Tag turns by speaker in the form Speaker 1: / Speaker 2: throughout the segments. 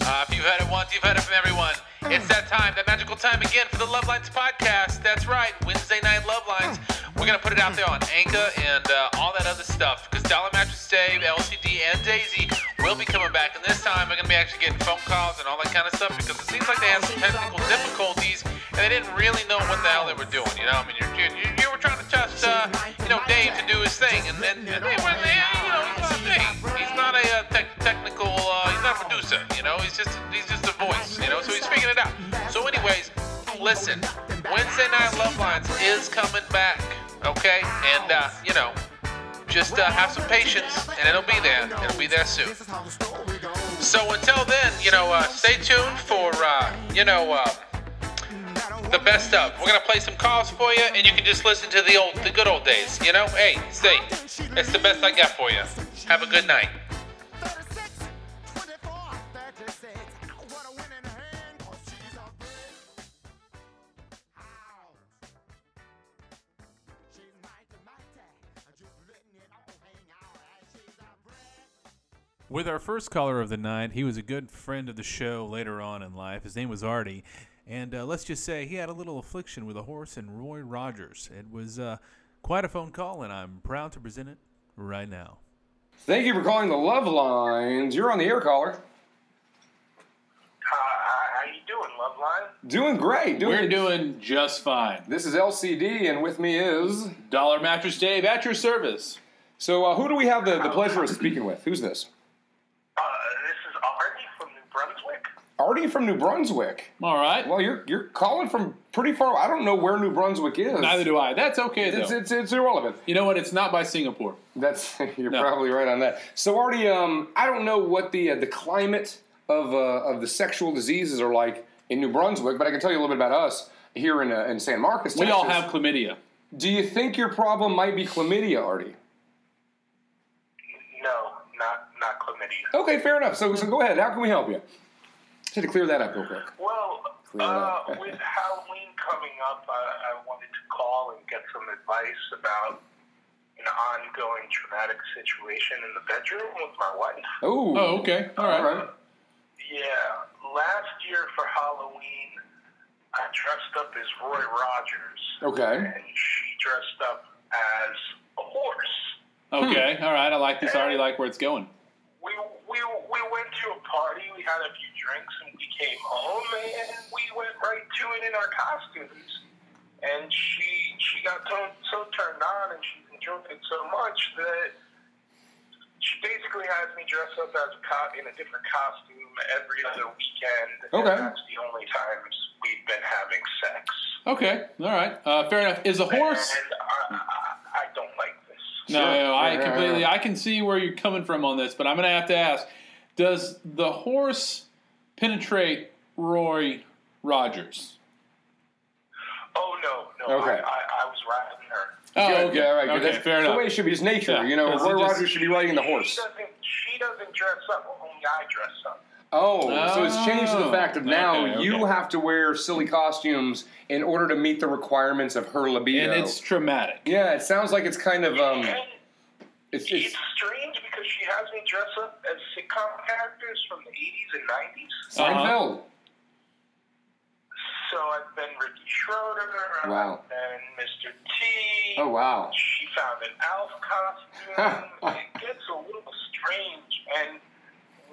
Speaker 1: Uh, if you've heard it once, you've heard it from everyone. It's that time, that magical time again for the Love Lines podcast. That's right, Wednesday night Love Lines. We're gonna put it out there on Anchor and uh, all that other stuff because Dollar Mattress Dave, LCD, and Daisy will be coming back. And this time, we're gonna be actually getting phone calls and all that kind of stuff because it seems like they had some technical difficulties and they didn't really know what the hell they were doing. You know, I mean, you're, you you were trying to trust, uh, you know, Dave to do his thing, and then and they were, they, you know, he's not Dave. He's not a uh, tech technical. Uh, he's not a producer. You know, he's just he's just a voice. You know, so he's figuring it out. So, anyways, listen, Wednesday night Love Lines is coming back. Okay, and uh, you know, just uh, have some patience, and it'll be there. It'll be there soon. So until then, you know, uh, stay tuned for uh, you know. Uh, the best of. We're gonna play some calls for you, and you can just listen to the old, the good old days. You know, hey, stay. It's the best I got for you. Have a good night.
Speaker 2: 36, 24, 36. What a winning hand, 'cause she's a bitch. Ouch. She's mighty, mighty. Just letting it all hang out. She's a brick.
Speaker 3: With our first caller of the night, he was a good friend of the show later on in life. His name was Artie. And uh, let's just say he had a little affliction with a horse and Roy Rogers. It was uh, quite a phone call, and I'm proud to present it right now.
Speaker 4: Thank you for calling the Love Lines. You're on the air caller.
Speaker 5: How, how you doing, Loveline?
Speaker 4: Doing great. Doing
Speaker 6: We're doing just fine.
Speaker 4: This is LCD, and with me is.
Speaker 6: Dollar Mattress Dave at your service.
Speaker 4: So, uh, who do we have the, the pleasure of speaking with? Who's this?
Speaker 5: Uh, this is Artie from New Brunswick.
Speaker 4: Artie from New Brunswick.
Speaker 6: All right.
Speaker 4: Well, you're you're calling from pretty far. I don't know where New Brunswick is.
Speaker 6: Neither do I. That's okay though.
Speaker 4: It's it's, it's irrelevant.
Speaker 6: you know what? It's not by Singapore.
Speaker 4: That's you're
Speaker 6: No.
Speaker 4: probably right on that. So, Artie, um, I don't know what the uh, the climate of uh, of the sexual diseases are like in New Brunswick, but I can tell you a little bit about us here in uh, in San Marcos.
Speaker 6: We all
Speaker 4: Texas.
Speaker 6: have chlamydia.
Speaker 4: Do you think your problem might be chlamydia, Artie?
Speaker 5: No, not not chlamydia.
Speaker 4: Okay, fair enough. So, so go ahead. How can we help you? Just had to clear that up real quick.
Speaker 5: Well,
Speaker 4: Clear it
Speaker 5: uh,
Speaker 4: up.
Speaker 5: with Halloween coming up, I, I wanted to call and get some advice about an ongoing traumatic situation in the bedroom with my wife.
Speaker 4: Ooh.
Speaker 6: Oh, okay. All right.
Speaker 4: All right.
Speaker 5: Yeah, last year for Halloween, I dressed up as Roy Rogers,
Speaker 4: Okay.
Speaker 5: and she dressed up as a horse.
Speaker 6: Okay. All right. I like this. I already like where it's going.
Speaker 5: we, we, we went to a party, we had a few drinks, and we came home, and we went right to it in our costumes. And she she got so, so turned on, and she enjoyed it so much that she basically has me dress up as a cop in a different costume every other weekend.
Speaker 4: Okay.
Speaker 5: And that's the only times we've been having sex.
Speaker 6: Okay. All right. Uh, fair enough. Is a horse?
Speaker 5: And I, I, I don't like this.
Speaker 6: No, no, I
Speaker 4: Sure.
Speaker 6: completely. I can see where you're coming from on this, but I'm gonna have to ask: Does the horse penetrate Roy Rogers?
Speaker 5: Oh, no, no.
Speaker 4: Okay.
Speaker 5: I, I, I was riding her.
Speaker 6: Oh,
Speaker 4: Good,
Speaker 6: okay.
Speaker 4: yeah, all right, good.
Speaker 6: okay.
Speaker 4: That's
Speaker 6: fair
Speaker 4: the way it
Speaker 6: enough.
Speaker 4: should be. It's nature.
Speaker 6: Yeah.
Speaker 4: You know,
Speaker 6: Does it
Speaker 4: Roy
Speaker 6: just-
Speaker 4: Rogers should be riding the horse.
Speaker 5: She doesn't, she doesn't dress up. Only I dress up.
Speaker 4: Oh, so it's changed to the
Speaker 6: Oh.
Speaker 4: fact of now
Speaker 6: Okay,
Speaker 4: you
Speaker 6: okay.
Speaker 4: have to wear silly costumes in order to meet the requirements of her libido.
Speaker 6: And it's traumatic.
Speaker 4: yeah, it sounds like it's kind of um,
Speaker 5: and
Speaker 4: it's,
Speaker 5: it's
Speaker 4: it's
Speaker 6: Uh-huh.
Speaker 5: strange because she has me dress up as sitcom characters from the 80s and 90s.
Speaker 4: Seinfeld.
Speaker 5: So I've been Ricky Schroeder. I've
Speaker 4: Wow.
Speaker 5: been Mr. T.
Speaker 4: Oh wow.
Speaker 5: She found an elf costume. it gets a little strange. And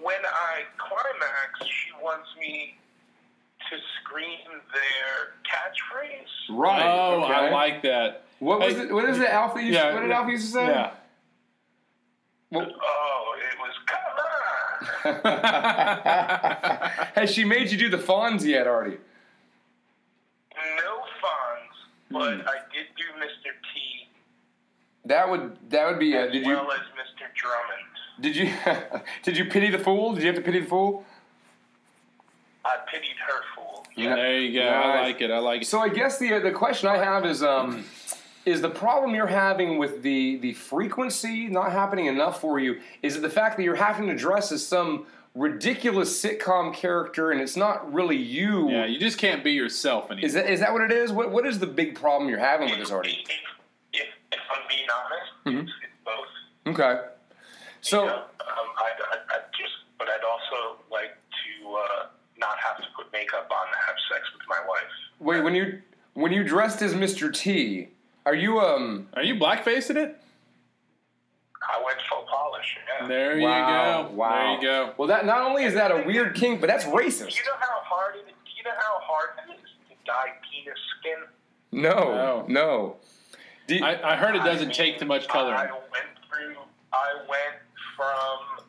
Speaker 5: when I climax, she wants me to scream their catchphrase.
Speaker 4: Right.
Speaker 6: Oh,
Speaker 4: okay.
Speaker 6: I like that.
Speaker 4: What was
Speaker 6: Hey,
Speaker 4: it? What is it? Alfie? Used,
Speaker 6: yeah,
Speaker 4: what did
Speaker 6: yeah.
Speaker 4: Alfie used to say?
Speaker 6: Yeah.
Speaker 4: Well,
Speaker 5: Oh, it was come on.
Speaker 4: Has she made you do the fawns yet, Artie?
Speaker 5: No Fonz, but I did do Mr. T
Speaker 4: That would that would be. Uh,
Speaker 5: as
Speaker 4: did you
Speaker 5: well as Mr. Drummond.
Speaker 4: did you did you pity the fool? Did you have to pity the fool?
Speaker 5: I pitied her fool.
Speaker 6: There you go. I
Speaker 4: Nice.
Speaker 6: like it. I like it.
Speaker 4: So I guess the the question I have is um is the problem you're having with the the frequency not happening enough for you? Is it the fact that you're having to dress as some ridiculous sitcom character and it's not really you?
Speaker 6: yeah, you just can't be yourself anymore.
Speaker 4: Is that is that what it is? What what is the big problem you're having with this, Artie?
Speaker 5: If, if, if I'm being honest, it's, it's both.
Speaker 4: Okay. So.
Speaker 5: you know? um, I'd, I'd, I'd just, but I'd also like to uh, makeup on to have sex with my wife.
Speaker 4: Wait, when you when you dressed as Mr. T, are you um?
Speaker 6: Are you blackfacing it?
Speaker 5: I went full polish. Yeah.
Speaker 6: There
Speaker 4: wow,
Speaker 6: you go.
Speaker 4: wow.
Speaker 6: There you go.
Speaker 4: Well, that not only is that a weird kink, but that's
Speaker 5: Do
Speaker 4: racist.
Speaker 5: you know how hard it? Do you know how hard it is to dye penis skin?
Speaker 4: No,
Speaker 6: No.
Speaker 4: no. Do you-
Speaker 6: I, I heard it doesn't take too much
Speaker 5: I
Speaker 6: coloring.
Speaker 5: went through. I went from,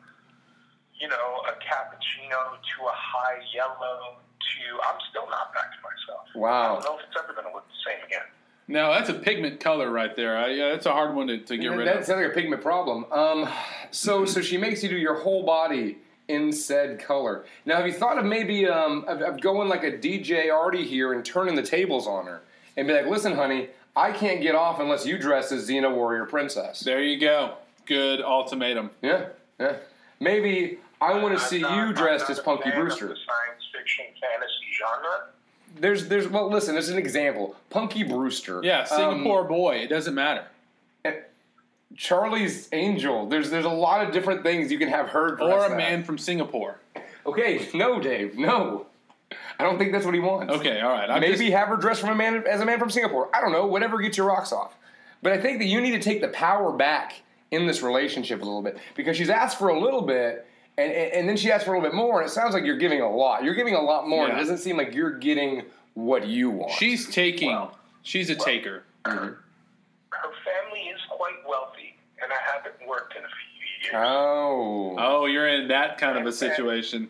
Speaker 5: you know, a cappuccino to a high yellow to. I'm still not back to myself. I
Speaker 4: wow.
Speaker 5: don't know if it's ever going to look the same again.
Speaker 6: No, that's a pigment color right there. I, yeah, that's a hard one to, to get
Speaker 4: That-
Speaker 6: rid
Speaker 4: that
Speaker 6: of.
Speaker 4: sounds like a pigment problem. Um, so so she makes you do your whole body in said color. Now, have you thought of maybe um, of, of going like a DJ Artie here and turning the tables on her and be like, listen, honey, I can't get off unless you dress as Xena Warrior Princess.
Speaker 6: There you go. Good ultimatum.
Speaker 4: Yeah, yeah. Maybe I want to
Speaker 5: I'm
Speaker 4: see
Speaker 5: not-
Speaker 4: you
Speaker 5: I'm
Speaker 4: dressed
Speaker 5: not
Speaker 4: as
Speaker 5: a
Speaker 4: Punky
Speaker 5: fan of
Speaker 4: Brewster.
Speaker 5: The science fiction fantasy genre.
Speaker 4: There's there's well, listen, there's an example. Punky Brewster.
Speaker 6: Yeah, Singapore
Speaker 4: Um,
Speaker 6: boy. It doesn't matter.
Speaker 4: Charlie's Angel. There's there's a lot of different things you can have her dressed
Speaker 6: Or a
Speaker 4: as.
Speaker 6: man from Singapore.
Speaker 4: Okay, no, Dave, no. I don't think that's what he wants.
Speaker 6: Okay, all right. I'm
Speaker 4: Maybe
Speaker 6: just-
Speaker 4: have her dress from a man as a man from Singapore. I don't know. Whatever gets your rocks off. But I think that you need to take the power back in this relationship a little bit because she's asked for a little bit, and and, and then she asked for a little bit more, and it sounds like you're giving a lot. You're giving a lot more, and
Speaker 6: Yeah.
Speaker 4: it doesn't seem like you're getting what you want.
Speaker 6: she's taking. she's a taker.
Speaker 5: Her family is quite wealthy, and I haven't worked in a few years.
Speaker 4: oh.
Speaker 6: Oh, you're in that kind of a situation.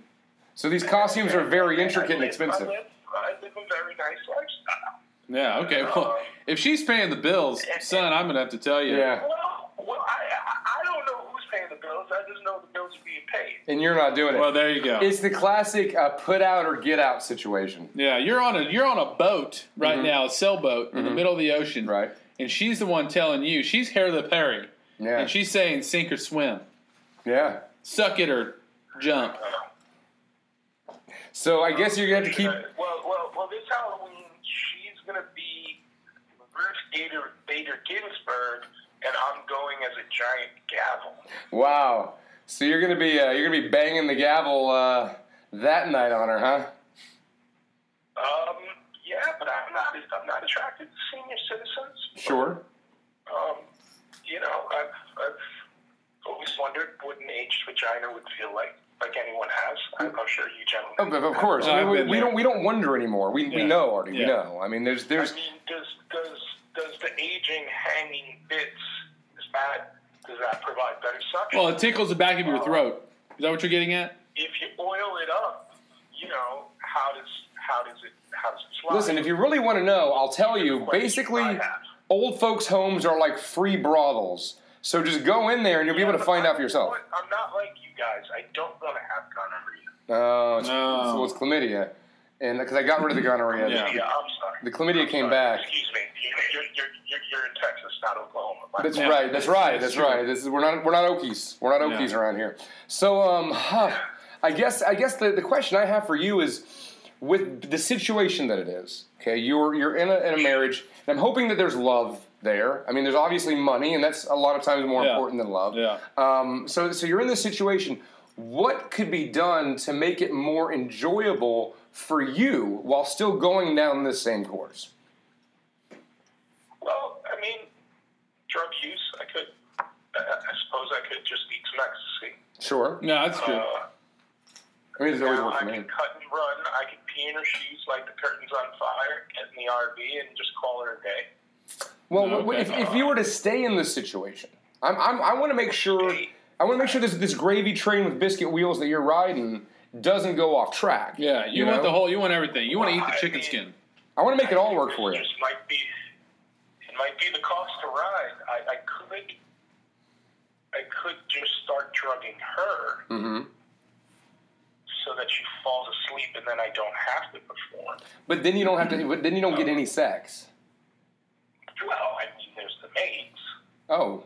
Speaker 4: so these costumes are very intricate and
Speaker 5: I live-
Speaker 4: expensive.
Speaker 5: I live, I live a very nice lifestyle.
Speaker 6: Yeah. Okay.
Speaker 4: Um,
Speaker 6: Well, if she's paying the bills, son, I'm gonna have to tell you.
Speaker 4: Yeah,
Speaker 5: Well, well, I, I I don't know who's paying the bills. I just know the bills are being paid.
Speaker 4: and you're not doing it.
Speaker 6: Well, there you go.
Speaker 4: it's the classic uh, put out or get out situation.
Speaker 6: Yeah, you're on a you're on a boat right now, a sailboat in the middle of the ocean,
Speaker 4: Mm-hmm. Right.
Speaker 6: And she's the one telling you she's Harry the Perry,
Speaker 4: Yeah.
Speaker 6: and she's saying sink or swim,
Speaker 4: yeah.
Speaker 6: suck it or jump.
Speaker 4: So I guess you're gonna have to keep.
Speaker 5: Well, well, well. This Halloween, she's gonna be Ruth Bader, Bader Ginsburg, and I'm going as a giant gavel.
Speaker 4: Wow. So you're gonna be uh, you're gonna be banging the gavel uh, that night on her, huh?
Speaker 5: Um, yeah, but I'm not. I'm not attracted to senior citizens.
Speaker 4: Sure.
Speaker 5: Um, you know, I've, I've always wondered what an aged vagina would feel like. Like anyone has, I'm I'm sure you gentlemen.
Speaker 4: Of, of course.
Speaker 6: Oh, I've
Speaker 4: we,
Speaker 6: been
Speaker 4: we
Speaker 6: there.
Speaker 4: don't we don't wonder anymore. We, we
Speaker 6: Yeah.
Speaker 4: know already. We
Speaker 6: Yeah.
Speaker 4: know. I mean, there's there's
Speaker 5: I mean, does does does the aging hanging bits is that does that provide better suction?
Speaker 6: Well, it tickles the back of your throat. Is that what you're getting at?
Speaker 5: if you oil it up, you know how does how does it how does it slide?
Speaker 4: listen. If you really want to know, I'll tell you. Basically, old folks' homes are like free brothels. So just go in there and you'll be able to find out for yourself.
Speaker 5: I'm not like you guys. I don't want to have gonorrhea.
Speaker 4: Oh, it's,
Speaker 6: No.
Speaker 4: so it's chlamydia, and because I got rid of the gonorrhea.
Speaker 6: Yeah.
Speaker 5: Yeah, I'm sorry.
Speaker 4: The chlamydia
Speaker 5: I'm
Speaker 4: came
Speaker 5: sorry.
Speaker 4: back.
Speaker 5: Excuse me. You're, you're, you're, you're in Texas, not Oklahoma. My
Speaker 4: That's
Speaker 5: bad.
Speaker 6: Yeah.
Speaker 4: right. That's right. That's
Speaker 6: That's
Speaker 4: right. This is, we're not we're not Okies. We're not
Speaker 6: No.
Speaker 4: Okies around here. So um, huh, I guess I guess the, the question I have for you is, with the situation that it is, okay, you're you're in a, in a marriage, and I'm hoping that there's love there. I mean, there's obviously money, and that's a lot of times more
Speaker 6: Yeah.
Speaker 4: important than love.
Speaker 6: Yeah.
Speaker 4: Um, so so you're in this situation. What could be done to make it more enjoyable for you while still going down this same course?
Speaker 5: Well, I mean, drug use. I could. I, I suppose I could just eat some ecstasy.
Speaker 4: Sure.
Speaker 6: No, that's true.
Speaker 5: Uh,
Speaker 4: I mean, it's always
Speaker 5: now
Speaker 4: worked for
Speaker 5: I
Speaker 4: me.
Speaker 5: could cut and run. I could pee in her shoes like the curtain's on fire, get in the RV, and just call her a day.
Speaker 4: Well,
Speaker 6: No,
Speaker 4: wh- wh-
Speaker 6: okay.
Speaker 4: if, if you were to stay in this situation, I'm, I'm, I want to make sure I want to make sure this this gravy train with biscuit wheels that you're riding doesn't go off track.
Speaker 6: yeah, you, want
Speaker 4: know?
Speaker 6: the whole, you want everything. You want to eat
Speaker 5: I
Speaker 6: the chicken
Speaker 5: mean-
Speaker 6: skin.
Speaker 4: I want to make it all work for you.
Speaker 5: Just might be. It might be the cost to ride. I, I could. I could just start drugging her.
Speaker 4: Mm-hmm.
Speaker 5: So that she falls asleep, and then I don't have to perform.
Speaker 4: But then you don't have to. But then you don't get any sex.
Speaker 5: Well, I mean, there's the maids.
Speaker 4: Oh,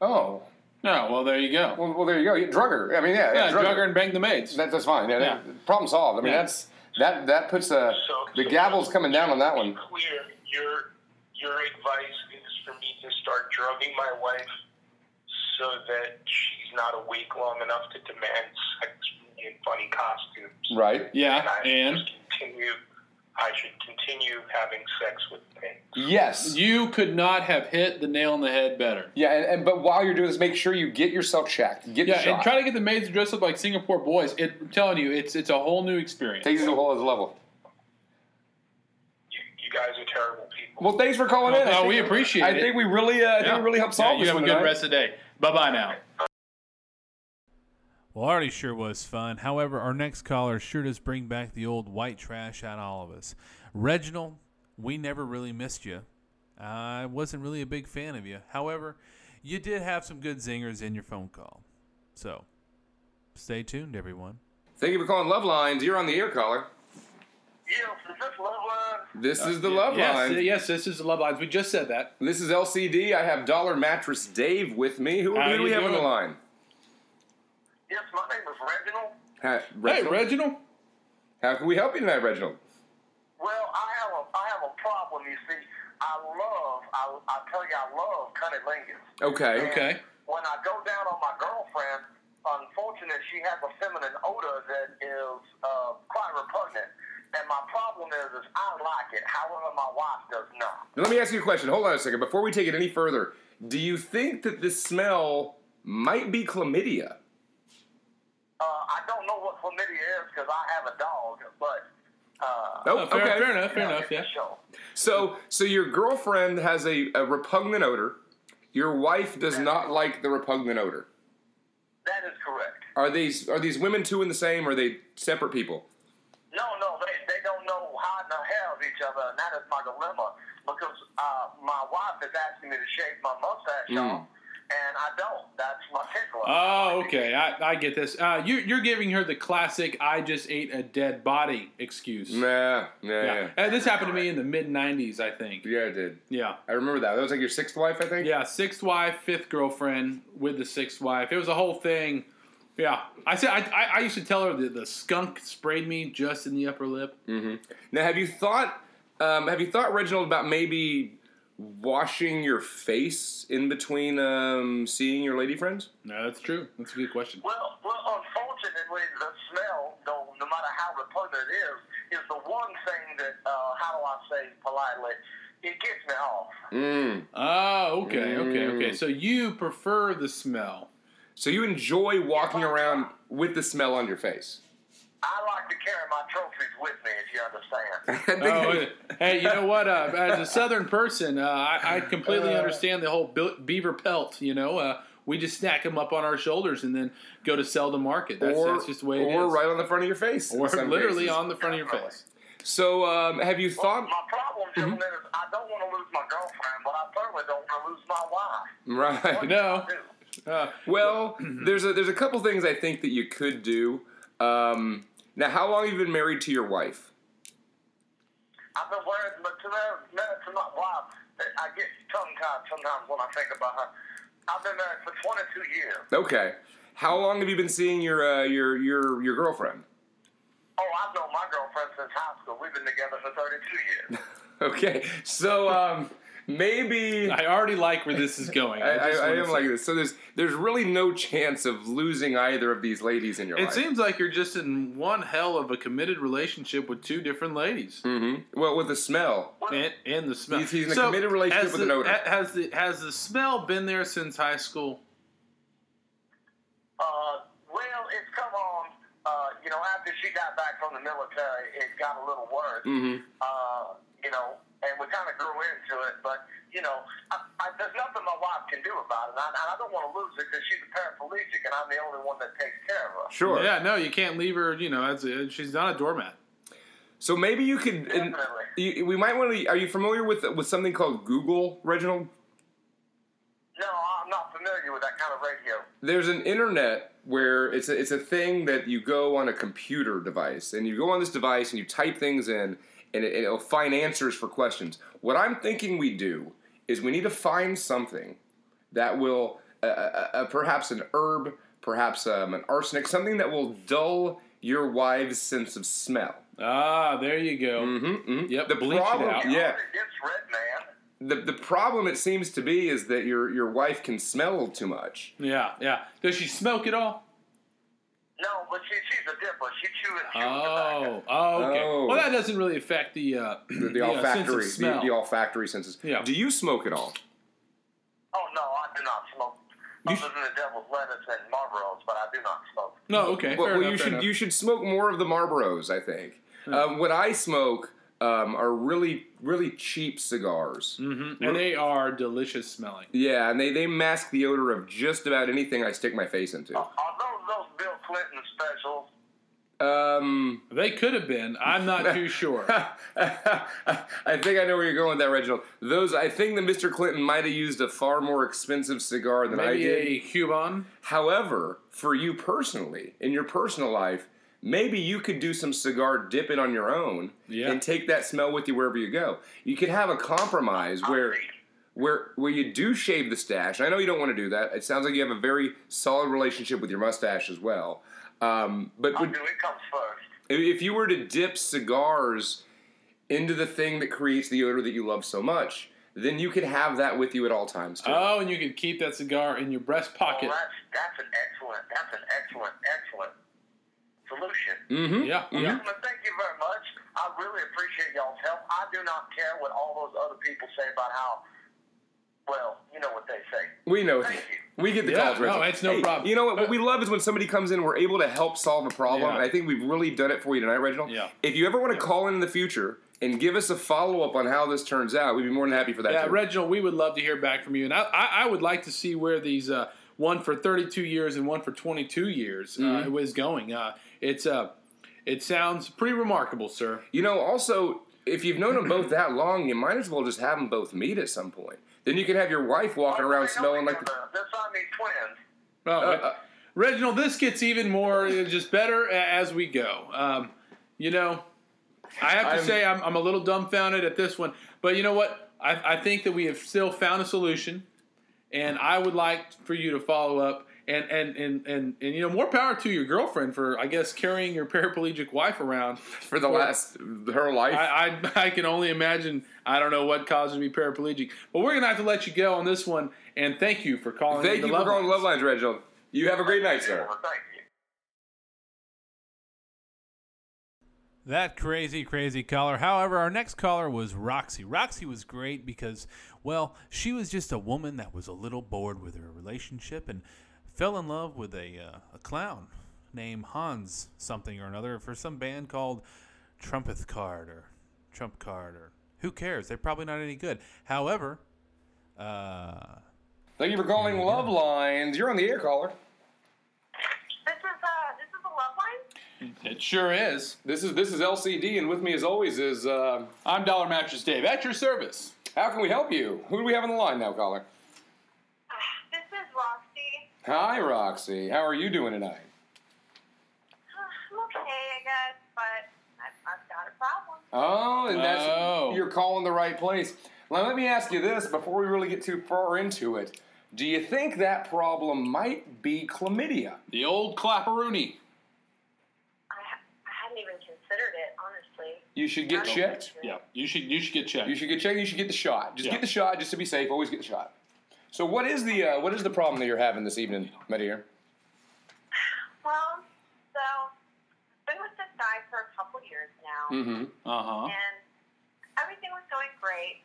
Speaker 4: oh.
Speaker 6: No, well there you go.
Speaker 4: Well, well there you go. You- Drugger. I mean, yeah,
Speaker 6: Yeah,
Speaker 4: drugger.
Speaker 6: drug her and bang the maids.
Speaker 4: That, that's fine. Yeah, that-
Speaker 6: Yeah.
Speaker 4: problem solved. I mean,
Speaker 6: Yeah.
Speaker 4: that's that that puts a
Speaker 5: So-
Speaker 4: the gavel's coming down on that one.
Speaker 5: clear, your your advice is for me to start drugging my wife so that she's not awake long enough to demand sex from me in funny costumes.
Speaker 4: Right.
Speaker 6: Yeah,
Speaker 5: I
Speaker 6: and
Speaker 5: just continue I should continue having sex with pigs.
Speaker 4: Yes.
Speaker 6: You could not have hit the nail on the head better.
Speaker 4: Yeah, and, and but while you're doing this, make sure you get yourself checked. Get
Speaker 6: Yeah,
Speaker 4: shot.
Speaker 6: and try to get the maids dressed up like Singapore boys. It, I'm telling you, it's it's a whole new experience.
Speaker 4: Takes it to a whole other level.
Speaker 5: You, you guys are terrible people.
Speaker 4: Well, thanks for calling in. I
Speaker 6: no,
Speaker 4: think-
Speaker 6: we appreciate
Speaker 4: I
Speaker 6: it.
Speaker 4: think we really, uh, I think we really helped solve
Speaker 6: yeah,
Speaker 4: this
Speaker 6: You have a
Speaker 4: one
Speaker 6: good
Speaker 4: tonight.
Speaker 6: rest of the day. Bye bye now.
Speaker 3: Well, Artie sure was fun. However, our next caller sure does bring back the old white trash out of all of us. Reginald, we never really missed you. I wasn't really a big fan of you. However, you did have some good zingers in your phone call. So, stay tuned, everyone.
Speaker 4: Thank you for calling Love Lines. You're on the air, caller.
Speaker 5: Yeah, from this love line,
Speaker 4: This is the Love
Speaker 6: Uh, yes,
Speaker 4: Line.
Speaker 6: yes, this is the Love Lines. We just said that.
Speaker 4: This is LCD. I have Dollar Mattress Dave with me. Who,
Speaker 6: How
Speaker 4: who do
Speaker 6: you
Speaker 4: we have on the
Speaker 6: doing?
Speaker 4: line?
Speaker 5: yes, my name is Reginald.
Speaker 4: Ha-
Speaker 6: Hey,
Speaker 4: Reginald?
Speaker 6: Reginald.
Speaker 4: How can we help you tonight, Reginald?
Speaker 5: Well, I have a I have a problem. You see, I love I I tell you I love cunnilingus.
Speaker 4: Okay.
Speaker 6: Okay.
Speaker 5: And When I go down on my girlfriend, unfortunately, she has a feminine odor that is uh, quite repugnant. And my problem is, is I like it. However, my wife does not.
Speaker 4: Now, let me ask you a question. Hold on a second. Before we take it any further, do you think that this smell might be chlamydia?
Speaker 5: Uh, I don't know what chlamydia is because I have a dog, but uh,
Speaker 4: Oh,
Speaker 6: Oh, fair,
Speaker 4: okay.
Speaker 6: fair enough. Fair enough. Yeah.
Speaker 5: So,
Speaker 4: So, so your girlfriend has a, a repugnant odor. Your wife does not like the repugnant odor.
Speaker 5: that is correct.
Speaker 4: Are these are these women two and the same? Or are they separate people?
Speaker 5: No, no, they, they don't know how in the hell of each other, and that is my dilemma. Because uh, my wife is asking me to shave my mustache
Speaker 6: Hmm.
Speaker 5: off, and I don't. That's my pickle.
Speaker 6: Oh, okay. I, I get this. Uh, you, you're giving her the classic "I just ate a dead body" excuse.
Speaker 4: Nah, nah.
Speaker 6: Yeah.
Speaker 4: Yeah,
Speaker 6: Uh, this happened to me in the mid '90s, I think.
Speaker 4: yeah, it did.
Speaker 6: Yeah.
Speaker 4: I remember that. That was like your sixth wife, I think.
Speaker 6: Yeah, sixth wife, fifth girlfriend with the sixth wife. It was a whole thing. Yeah, I said I, I, I used to tell her that the skunk sprayed me just in the upper lip.
Speaker 4: Now, have you thought, um, have you thought, Reginald, about maybe washing your face in between um, seeing your lady friends?
Speaker 6: No, that's true. That's a good question.
Speaker 5: Well, well, unfortunately, the smell, though, no matter how repugnant it is, is the one thing that, uh, how do I say politely, it gets me off.
Speaker 6: Oh, okay, okay, okay.
Speaker 4: Mm.
Speaker 6: So you prefer the smell?
Speaker 4: So you enjoy walking around with the smell on your face.
Speaker 5: I like to carry my trophies with me, if you understand.
Speaker 4: I think-
Speaker 6: Oh, hey, you know what? Uh, as a Southern person, uh, I, I completely understand the whole be- beaver pelt. You know, uh, we just stack them up on our shoulders and then go to sell to market. That's, that's just the way it is.
Speaker 4: or right on the front of your face. in
Speaker 6: Or
Speaker 4: some
Speaker 6: literally
Speaker 4: cases.
Speaker 6: on the front of your face.
Speaker 4: So um, have you thought?
Speaker 5: my problem, gentlemen, is I don't want to lose my girlfriend, but I certainly don't want to lose my wife.
Speaker 4: Right.
Speaker 6: No.
Speaker 5: Dude,
Speaker 6: Uh,
Speaker 4: Well, there's a there's a couple things I think that you could do. Um, now, how long have you been married to your wife?
Speaker 5: I've been worried, but to, that, to my wife, I get tongue-tied sometimes when I think about her. I've been married for 22 years.
Speaker 4: Okay. How long have you been seeing your uh, your your your girlfriend?
Speaker 5: Oh, I've known my girlfriend since high school. We've been together for 32 years.
Speaker 4: Okay. So um, maybe I,
Speaker 6: I already like where this is going.
Speaker 4: I,
Speaker 6: just
Speaker 4: I
Speaker 6: wanna
Speaker 4: am
Speaker 6: say-
Speaker 4: like this. So there's there's really no chance of losing either of these ladies in your
Speaker 6: It
Speaker 4: life.
Speaker 6: seems like you're just in one hell of a committed relationship with two different ladies,
Speaker 4: Mm-hmm. well, with the smell.
Speaker 6: and, and the smell.
Speaker 4: He's- he's in a committed relationship
Speaker 6: has
Speaker 4: with an
Speaker 6: the-
Speaker 4: odor.
Speaker 6: ha- Has the has the smell been there since high school?
Speaker 5: Uh, well, it's come on. Uh, you know, after she got back from the military, it got a little worse.
Speaker 4: Mm-hmm.
Speaker 5: Uh, you know, and we kind of grew into it. But you know, I, I, there's nothing my wife can do about it, and I, and I don't want to lose it because she's a paraplegic, and I'm the only one that takes care of her.
Speaker 4: Sure.
Speaker 6: Yeah, no, you can't leave her. You know, as a, she's not a doormat.
Speaker 4: So maybe you could. and
Speaker 5: Definitely.
Speaker 4: you, we might want to. Are you familiar with with something called Google, Reginald?
Speaker 5: No, I'm not familiar with that kind of radio.
Speaker 4: there's an internet where it's a, it's a thing that you go on a computer device and you go on this device and you type things in and it, it'll find answers for questions. What I'm thinking we do is we need to find something that will uh, uh, uh, perhaps an herb, perhaps um, an arsenic, something that will dull your wives' sense of smell.
Speaker 6: Ah, there you go.
Speaker 4: Hmm.
Speaker 6: Mm-hmm, Yep,
Speaker 4: The
Speaker 6: bleach
Speaker 4: problem-
Speaker 6: it out.
Speaker 4: Yeah.
Speaker 5: It's red, man.
Speaker 4: The, the problem it seems to be is that your your wife can smell too much.
Speaker 6: yeah, yeah. Does she smoke at all?
Speaker 5: No, but she sees the difference. She chews and chews tobacco.
Speaker 6: Oh, oh, okay.
Speaker 4: Oh.
Speaker 6: Well, that doesn't really affect the uh,
Speaker 4: The, the
Speaker 6: you know, sense of
Speaker 4: olfactory, the,
Speaker 6: smell.
Speaker 4: the olfactory senses.
Speaker 6: Yeah.
Speaker 4: Do you smoke at all?
Speaker 5: Oh no, I do not smoke.
Speaker 4: You
Speaker 5: Other
Speaker 4: sh-
Speaker 5: than the devil's lettuce and Marlboros, but I do not smoke.
Speaker 6: no, okay.
Speaker 4: Well,
Speaker 6: fair
Speaker 4: well,
Speaker 6: enough,
Speaker 4: you
Speaker 6: fair
Speaker 4: should
Speaker 6: enough. Hmm.
Speaker 4: you should smoke more of the Marlboros. I think. Um, what I smoke um, are really really cheap cigars.
Speaker 6: Mm-hmm. and they are delicious smelling.
Speaker 4: Yeah, and they, they mask the odor of just about anything I stick my face into.
Speaker 5: Are those those Bill Clinton specials?
Speaker 4: Um,
Speaker 6: They could have been. I'm not too sure.
Speaker 4: I think I know where you're going with that, Reginald. Those I think that Mr. Clinton might have used a far more expensive cigar than I
Speaker 6: Maybe
Speaker 4: did.
Speaker 6: a Cuban.
Speaker 4: However, for you personally, in your personal life, maybe you could do some cigar dipping on your own
Speaker 6: Yeah.
Speaker 4: and take that smell with you wherever you go. You could have a compromise where where where you do shave the stash. I know you don't want to do that. It sounds like you have a very solid relationship with your mustache as well. Um, but
Speaker 5: I
Speaker 4: would,
Speaker 5: do. It comes first.
Speaker 4: if- if you were to dip cigars into the thing that creates the odor that you love so much, then you could have that with you at all times too.
Speaker 6: Oh, and you could keep that cigar in your breast pocket.
Speaker 5: Well, that's that's an excellent that's an excellent excellent solution.
Speaker 4: mm-hmm.
Speaker 6: Yeah, yeah.
Speaker 5: Gentlemen, thank you very much. I really appreciate y'all's help. I do not care what all those other people say about how. Well, you know what they say.
Speaker 4: We know.
Speaker 5: Thank you.
Speaker 4: We get the
Speaker 6: Yeah,
Speaker 4: calls,
Speaker 6: no,
Speaker 4: Richard.
Speaker 6: it's no
Speaker 4: Hey,
Speaker 6: problem.
Speaker 4: You know what? What we love is when somebody comes in, we're able to help solve a problem.
Speaker 6: Yeah.
Speaker 4: And I think we've really done it for you tonight, Reginald.
Speaker 6: Yeah.
Speaker 4: If you ever want to call in in the future and give us a follow up on how this turns out, we'd be more than happy for that.
Speaker 6: Yeah,
Speaker 4: too.
Speaker 6: Reginald, we would love to hear back from you, and I, I, I would like to see where these uh, one for 32 years and one for 22 years uh,
Speaker 4: Mm-hmm.
Speaker 6: was going. Uh, it's uh, it sounds pretty remarkable, sir.
Speaker 4: You know, also, if you've known them both that long, you might as well just have them both meet at some point. Then you can have your wife walking around smelling like. The,
Speaker 5: the Siamese twins.
Speaker 6: Well,
Speaker 4: uh,
Speaker 6: Reginald, this gets even more uh, just better a- as we go. Um, you know, I have to
Speaker 4: I'm-
Speaker 6: say I'm, I'm a little dumbfounded at this one, but you know what? I, I think that we have still found a solution, and I would like for you to follow up. And, and, and, and, and you know more power to your girlfriend for I guess carrying your paraplegic wife around.
Speaker 4: for the last her life.
Speaker 6: I, I I can only imagine I don't know what caused her to be paraplegic, but we're gonna have to let you go on this one. And thank you for calling.
Speaker 4: Thank
Speaker 6: into
Speaker 4: you for calling
Speaker 6: Lines.
Speaker 4: Love Lines, Reginald. You have a great night, sir.
Speaker 5: Well, thank you.
Speaker 3: That crazy, crazy caller. However, our next caller was Roxy. Roxy was great because, well, she was just a woman that was a little bored with her relationship and fell in love with a, uh, a clown named Hans something or another for some band called Trumpeth Card or Trump Card or who cares? They're probably not any good. However, uh,
Speaker 4: Thank you for calling Love Lines. You're on the air, caller.
Speaker 7: This is uh, this is a love line.
Speaker 6: It sure is.
Speaker 4: This is this is LCD, and with me as always is uh,
Speaker 6: I'm Dollar Mattress Dave at your service.
Speaker 4: how can we help you? Who do we have on the line now, caller?
Speaker 7: Ah, This is Roxy.
Speaker 4: Hi, Roxy. How are you doing tonight?
Speaker 7: Ah, I'm okay, I guess, but I've, I've got a problem.
Speaker 4: Oh, and that's
Speaker 6: Oh.
Speaker 4: you're calling the right place. Now let me ask you this before we really get too far into it. Do you think that problem might be chlamydia?
Speaker 6: The old clapperoonie.
Speaker 7: I, ha- I hadn't even considered it, honestly.
Speaker 4: You should get
Speaker 7: Not
Speaker 4: checked.
Speaker 7: even-
Speaker 6: Yeah, you should you should get checked.
Speaker 4: You should get checked. You should get the shot. Just
Speaker 6: Yeah.
Speaker 4: get the shot, just to be safe. Always get the shot. So what is the uh, what is the problem that you're having this evening, my dear?
Speaker 7: Well, so I've been with this guy for a couple years now,
Speaker 4: Mm-hmm.
Speaker 6: Uh huh.
Speaker 7: and everything was going great.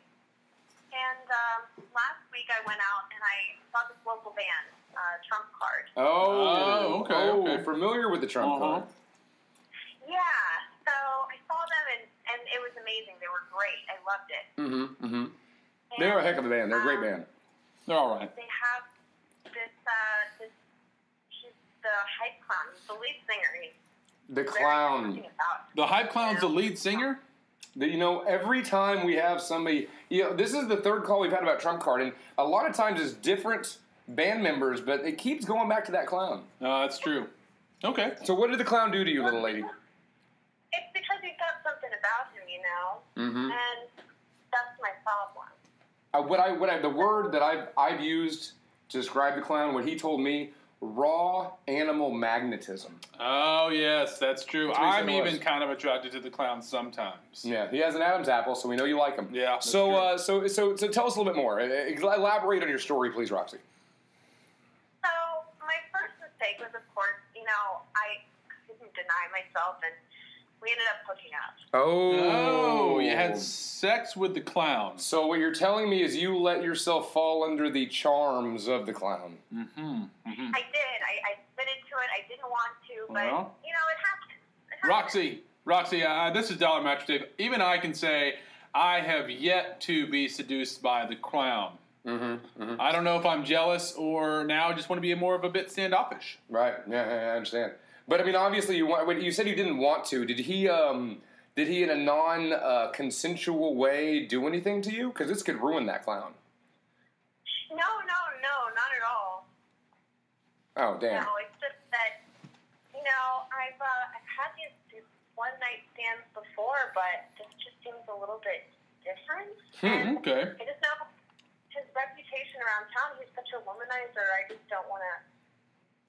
Speaker 7: And um, last week I went out and I saw this local band, uh, Trump Card.
Speaker 4: Oh,
Speaker 6: Oh, okay,
Speaker 4: Oh,
Speaker 6: okay.
Speaker 4: familiar with the Trump
Speaker 6: Uh-huh.
Speaker 4: card.
Speaker 7: Yeah, so I saw them and, and it was amazing. They were great. I loved it.
Speaker 4: Mm-hmm. Mm-hmm. They're a heck of a band. They're a great
Speaker 7: Um,
Speaker 4: band.
Speaker 6: They're all right.
Speaker 7: they have this uh this he's the hype clown, he's the lead singer. He's
Speaker 4: The
Speaker 7: very
Speaker 4: clown.
Speaker 7: something about.
Speaker 6: The hype clown's the lead singer.
Speaker 4: That you know, every time we have somebody, you know, this is the third call we've had about Trump card, and a lot of times it's different band members, but it keeps going back to that clown.
Speaker 6: Uh, that's true. Okay.
Speaker 4: So, what did the clown do to you, little lady?
Speaker 7: It's because he's got something about him, you know,
Speaker 6: Mm.
Speaker 4: Mm-hmm.
Speaker 7: and that's my problem.
Speaker 4: Uh, what I, what I, the word that I've, I've used to describe the clown, what he told me, raw animal magnetism.
Speaker 6: Oh yes, that's true.
Speaker 4: what he said
Speaker 6: I'm
Speaker 4: it was.
Speaker 6: even kind of attracted to the clown sometimes.
Speaker 4: Yeah, he has an Adam's apple, so we know you like him.
Speaker 6: Yeah, that's
Speaker 4: So,
Speaker 6: true.
Speaker 4: uh, so, so, so, tell us a little bit more. Uh, uh, Elaborate on your story, please, Roxy.
Speaker 7: So my first mistake was, of course, you know, I myself, and we ended up hooking up.
Speaker 4: Oh.
Speaker 6: Oh, you had sex with the clown.
Speaker 4: So what you're telling me is you let yourself fall under the charms of the clown.
Speaker 6: Mm-hmm.
Speaker 7: I did. I, I admitted to it. I didn't want to, but
Speaker 6: Well.
Speaker 7: you know, it happened. It happened.
Speaker 6: Roxy, Roxy, uh, this is Dollar Match Dave. Even I can say I have yet to be seduced by the clown. Mm-hmm, I don't know if I'm jealous or now just want to be more of a bit standoffish.
Speaker 4: Right. Yeah, yeah, yeah, I understand. But I mean, obviously, you want. wait, You said you didn't want to. Did he? Um, did he, in a non-consensual way, do anything to you? Because this could ruin that clown.
Speaker 7: No, no, no, not at all.
Speaker 4: Oh damn.
Speaker 7: No, it's just that you know I've uh, I've had these, these one night stands before, but this just seems a little bit different.
Speaker 6: Hmm,
Speaker 7: And
Speaker 6: Okay.
Speaker 7: I just know his reputation around town. He's such a womanizer. I just don't want to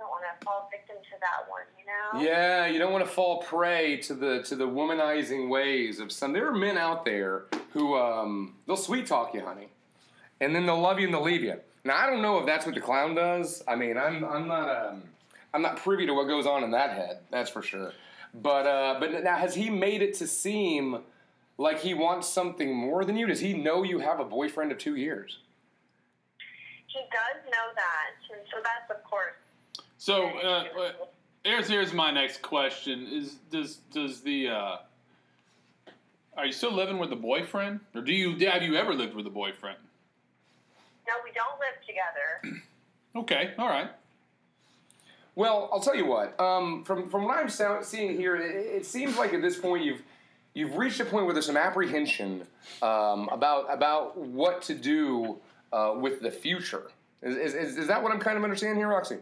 Speaker 7: don't want to fall victim to that one. You know.
Speaker 4: Yeah, you don't want to fall prey to the to the womanizing ways of some. There are men out there who um, they'll sweet talk you, honey, and then they'll love you and they'll leave you. Now I don't know if that's what the clown does. I mean, I'm I'm not um, I'm not privy to what goes on in that head. That's for sure. But uh, but now has he made it to seem like he wants something more than you? Does he know you have a boyfriend of two years?
Speaker 7: He does know that, and so that's of course.
Speaker 6: So uh, uh, here's here's my next question: Is does does the uh, are you still living with a boyfriend, or do you have you ever lived with a boyfriend?
Speaker 7: No, we don't live together.
Speaker 6: Okay, all right.
Speaker 4: Well, I'll tell you what. Um, from from what I'm sou- seeing here, it, it seems like at this point you've you've reached a point where there's some apprehension um, about about what to do uh, with the future. Is, is, is, is that what I'm kind of understanding here, Roxy?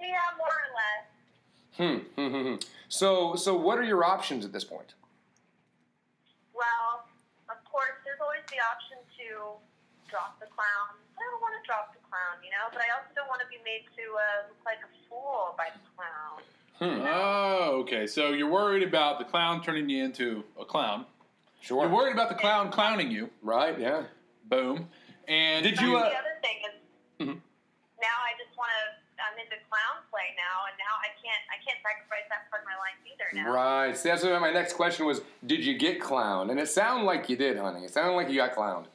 Speaker 7: yeah, more or less.
Speaker 4: Hmm. hmm, hmm, hmm. so so what are your options at this point?
Speaker 7: Well, of course, there's always the option to drop the clown. I don't want to drop the clown, you know, but I also don't want to be made to uh, look like a fool by the clown.
Speaker 6: Oh, okay. So you're worried about the clown turning you into a clown.
Speaker 4: Sure.
Speaker 6: You're worried about the clown clowning you.
Speaker 4: Right. Yeah.
Speaker 6: Boom. And did
Speaker 7: But
Speaker 6: you? Uh, Mm-hmm.
Speaker 7: the other thing is, now I just want to. I'm into clown play now, and now I can't. I can't sacrifice that part of my life either now.
Speaker 4: Right. See, that's what my next question was. Did you get clown? And it sounded like you did, honey. It sounded like you got clowned.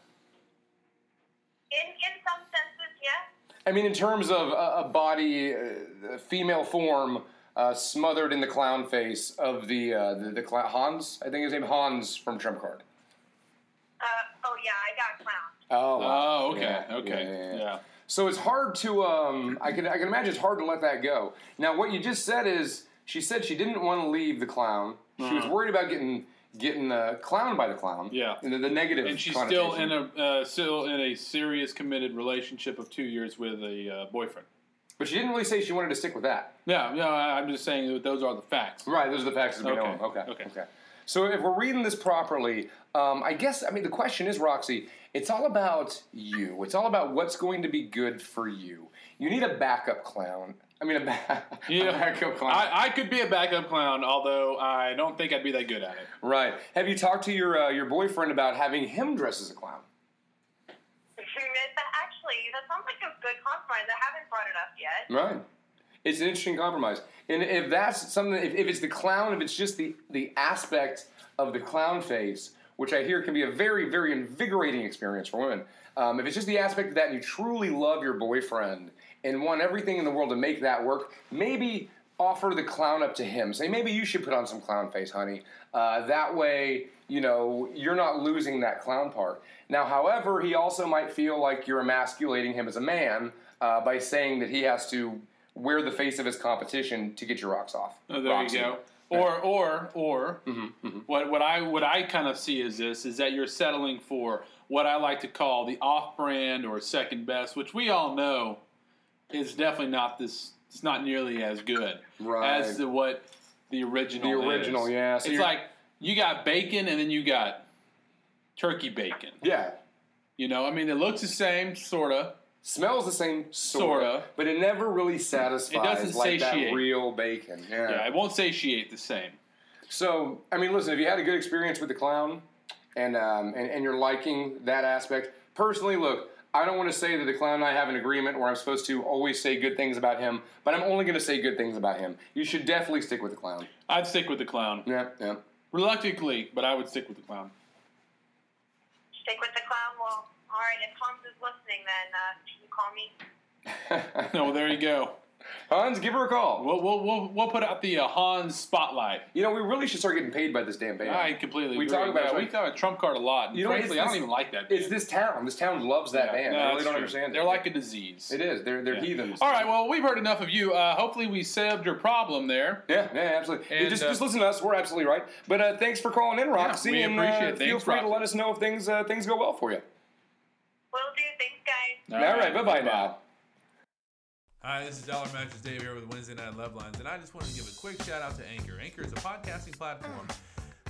Speaker 7: In in some senses, yes.
Speaker 4: I mean, in terms of a, a body, uh, a female form uh, smothered in the clown face of the uh, the, the clown Hans, I think his name Hans from Trump Card.
Speaker 7: Uh, oh yeah, I got clowned.
Speaker 4: Oh, wow.
Speaker 6: oh, okay,
Speaker 4: Yeah,
Speaker 6: okay,
Speaker 4: yeah, yeah,
Speaker 6: yeah.
Speaker 4: yeah. So it's hard to um, I can I can imagine it's hard to let that go. Now, what you just said is she said she didn't want to leave the clown. She was worried about getting getting uh, clowned by the clown.
Speaker 6: Uh-huh. Yeah.
Speaker 4: and the, the negative.
Speaker 6: And she's still in
Speaker 4: connotation.
Speaker 6: a uh, still in a serious committed relationship of two years with a uh, boyfriend.
Speaker 4: But she didn't really say she wanted to stick with that.
Speaker 6: Yeah, no, I- I'm just saying that those are the facts.
Speaker 4: Right, those are the facts as we know
Speaker 6: Okay,
Speaker 4: them. Okay, okay,
Speaker 6: okay.
Speaker 4: So if we're reading this properly, um, I guess I mean the question is, Roxy, it's all about you. It's all about what's going to be good for you. You need a backup clown. I mean, a, ba- a backup clown.
Speaker 6: I, I could be a backup clown, although I don't think I'd be that good at it.
Speaker 4: right. Have you talked to your uh, your boyfriend about having him dress as a clown?
Speaker 7: That actually, that sounds like a good compromise. I haven't brought it up yet.
Speaker 4: Right. It's an interesting compromise. And if that's something, if, if it's the clown, if it's just the, the aspect of the clown face, which I hear can be a very, very invigorating experience for women, um, if it's just the aspect of that and you truly love your boyfriend and want everything in the world to make that work, maybe offer the clown up to him. Say, maybe you should put on some clown face, honey. Uh, that way, you know, you're not losing that clown part. Now, however, he also might feel like you're emasculating him as a man uh, by saying that he has to wear the face of his competition to get your rocks off.
Speaker 6: Oh, there
Speaker 4: Rocks
Speaker 6: you go.
Speaker 4: off.
Speaker 6: Or, or, or,
Speaker 4: Mm-hmm,
Speaker 6: what what I what I kind of see is this is that you're settling for what I like to call the off-brand or second best, which we all know is definitely not this. It's not nearly as good
Speaker 4: Right.
Speaker 6: as the what the original.
Speaker 4: The original,
Speaker 6: is.
Speaker 4: yeah. So
Speaker 6: it's
Speaker 4: you're-
Speaker 6: like you got bacon and then you got turkey bacon.
Speaker 4: Yeah.
Speaker 6: You know, I mean, it looks the same, sorta.
Speaker 4: Smells the same, sort of,
Speaker 6: Sorta.
Speaker 4: but it never really satisfies
Speaker 6: doesn't
Speaker 4: like
Speaker 6: satiate.
Speaker 4: that real bacon.
Speaker 6: Yeah, it won't satiate the same.
Speaker 4: So, I mean, listen, if you had a good experience with the clown and, um, and, and you're liking that aspect, personally, look, I don't want to say that the clown and I have an agreement where I'm supposed to always say good things about him, but I'm only going to say good things about him. You should definitely stick with the clown.
Speaker 6: I'd stick with the clown.
Speaker 4: Yeah, yeah.
Speaker 6: Reluctantly, but I would stick with the clown.
Speaker 7: Stick with the clown. Well, all right. If Hans is listening, then uh, can you call me?
Speaker 6: No, there you go.
Speaker 4: Hans, give her a call.
Speaker 6: We'll we'll we'll, we'll put out the uh, Hans spotlight.
Speaker 4: You know, we really should start getting paid by this damn band.
Speaker 6: I completely.
Speaker 4: We
Speaker 6: agree.
Speaker 4: talk about
Speaker 6: Yeah,
Speaker 4: it,
Speaker 6: we
Speaker 4: like-
Speaker 6: talk about Trump card a lot. And
Speaker 4: You know, it's-
Speaker 6: frankly, I don't
Speaker 4: it's-
Speaker 6: even like that.
Speaker 4: It's this town. This town loves that
Speaker 6: Yeah,
Speaker 4: band.
Speaker 6: no,
Speaker 4: I
Speaker 6: that's
Speaker 4: really don't
Speaker 6: true.
Speaker 4: understand it.
Speaker 6: They're like a disease.
Speaker 4: It is. They're they're
Speaker 6: Yeah.
Speaker 4: heathens.
Speaker 6: All right. Well, we've heard enough of you. Uh, hopefully, we saved your problem there.
Speaker 4: Yeah, yeah, absolutely.
Speaker 6: And,
Speaker 4: just,
Speaker 6: uh,
Speaker 4: just listen to us. We're absolutely right. But uh, thanks for calling in, Roxy.
Speaker 6: we
Speaker 4: and
Speaker 6: appreciate
Speaker 4: uh,
Speaker 6: it.
Speaker 4: feel
Speaker 6: Thanks,
Speaker 4: free to
Speaker 6: Roxy.
Speaker 4: let us know if things uh, things go well for you.
Speaker 7: Will do. Thanks, guys.
Speaker 4: All right, bye bye now.
Speaker 3: Hi, this is Dollar Matches Dave here with Wednesday Night Love Lines, and I just wanted to give a quick shout out to Anchor. Anchor is a podcasting platform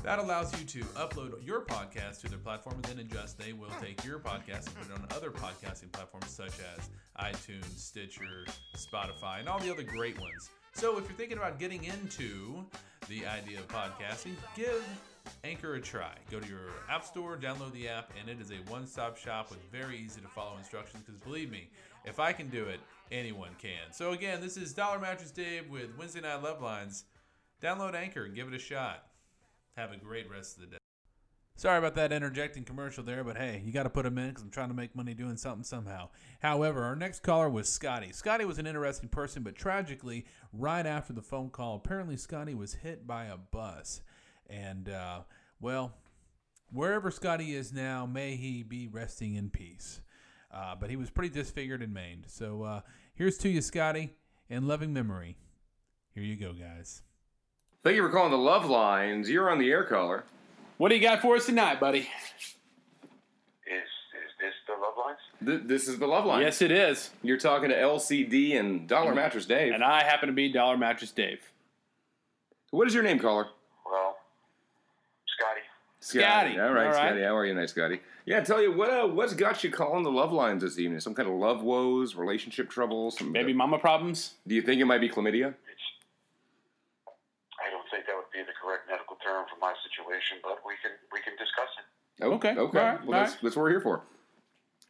Speaker 3: that allows you to upload your podcast to their platform and then ingest. They will take your podcast and put it on other podcasting platforms such as iTunes, Stitcher, Spotify, and all the other great ones. So if you're thinking about getting into the idea of podcasting, give Anchor a try. Go to your app store, download the app, and it is a one stop shop with very easy to follow instructions because believe me, if I can do it, anyone can. So again, this is Dollar Mattress Dave with Wednesday Night Love Lines. Download Anchor and give it a shot. Have a great rest of the day. Sorry about that interjecting commercial there, but hey, you got to put them in because I'm trying to make money doing something somehow. However, our next caller was Scotty. Scotty was an interesting person, but tragically, right after the phone call, apparently Scotty was hit by a bus. And, uh, well, wherever Scotty is now, may he be resting in peace. Uh, but he was pretty disfigured and maimed. So uh, here's to you, Scotty, in loving memory. Here you go, guys.
Speaker 4: Thank you for calling the Love Lines. You're on the air caller.
Speaker 6: What do you got for us tonight, buddy?
Speaker 5: Is is this the love lines?
Speaker 4: Th- this is the Love Lines.
Speaker 6: Yes, it is.
Speaker 4: You're talking to LCD and Dollar Mattress Dave.
Speaker 6: And I happen to be Dollar Mattress Dave.
Speaker 4: what is your name, caller?
Speaker 5: Well, Scotty,
Speaker 6: Scotty.
Speaker 4: All right,
Speaker 6: All right.
Speaker 4: Scotty. How are you tonight, Scotty? Yeah, tell you what. Uh, what's got you calling the Love Lines this evening? Some kind of love woes, relationship troubles. Some,
Speaker 6: Baby mama problems.
Speaker 4: Do you think it might be chlamydia?
Speaker 5: it's. I don't think that would be the correct medical term for my situation, but we can we can discuss it.
Speaker 4: Oh, Okay.
Speaker 6: Okay, all right, all
Speaker 4: Well, that's,
Speaker 6: right.
Speaker 4: that's what we're here for.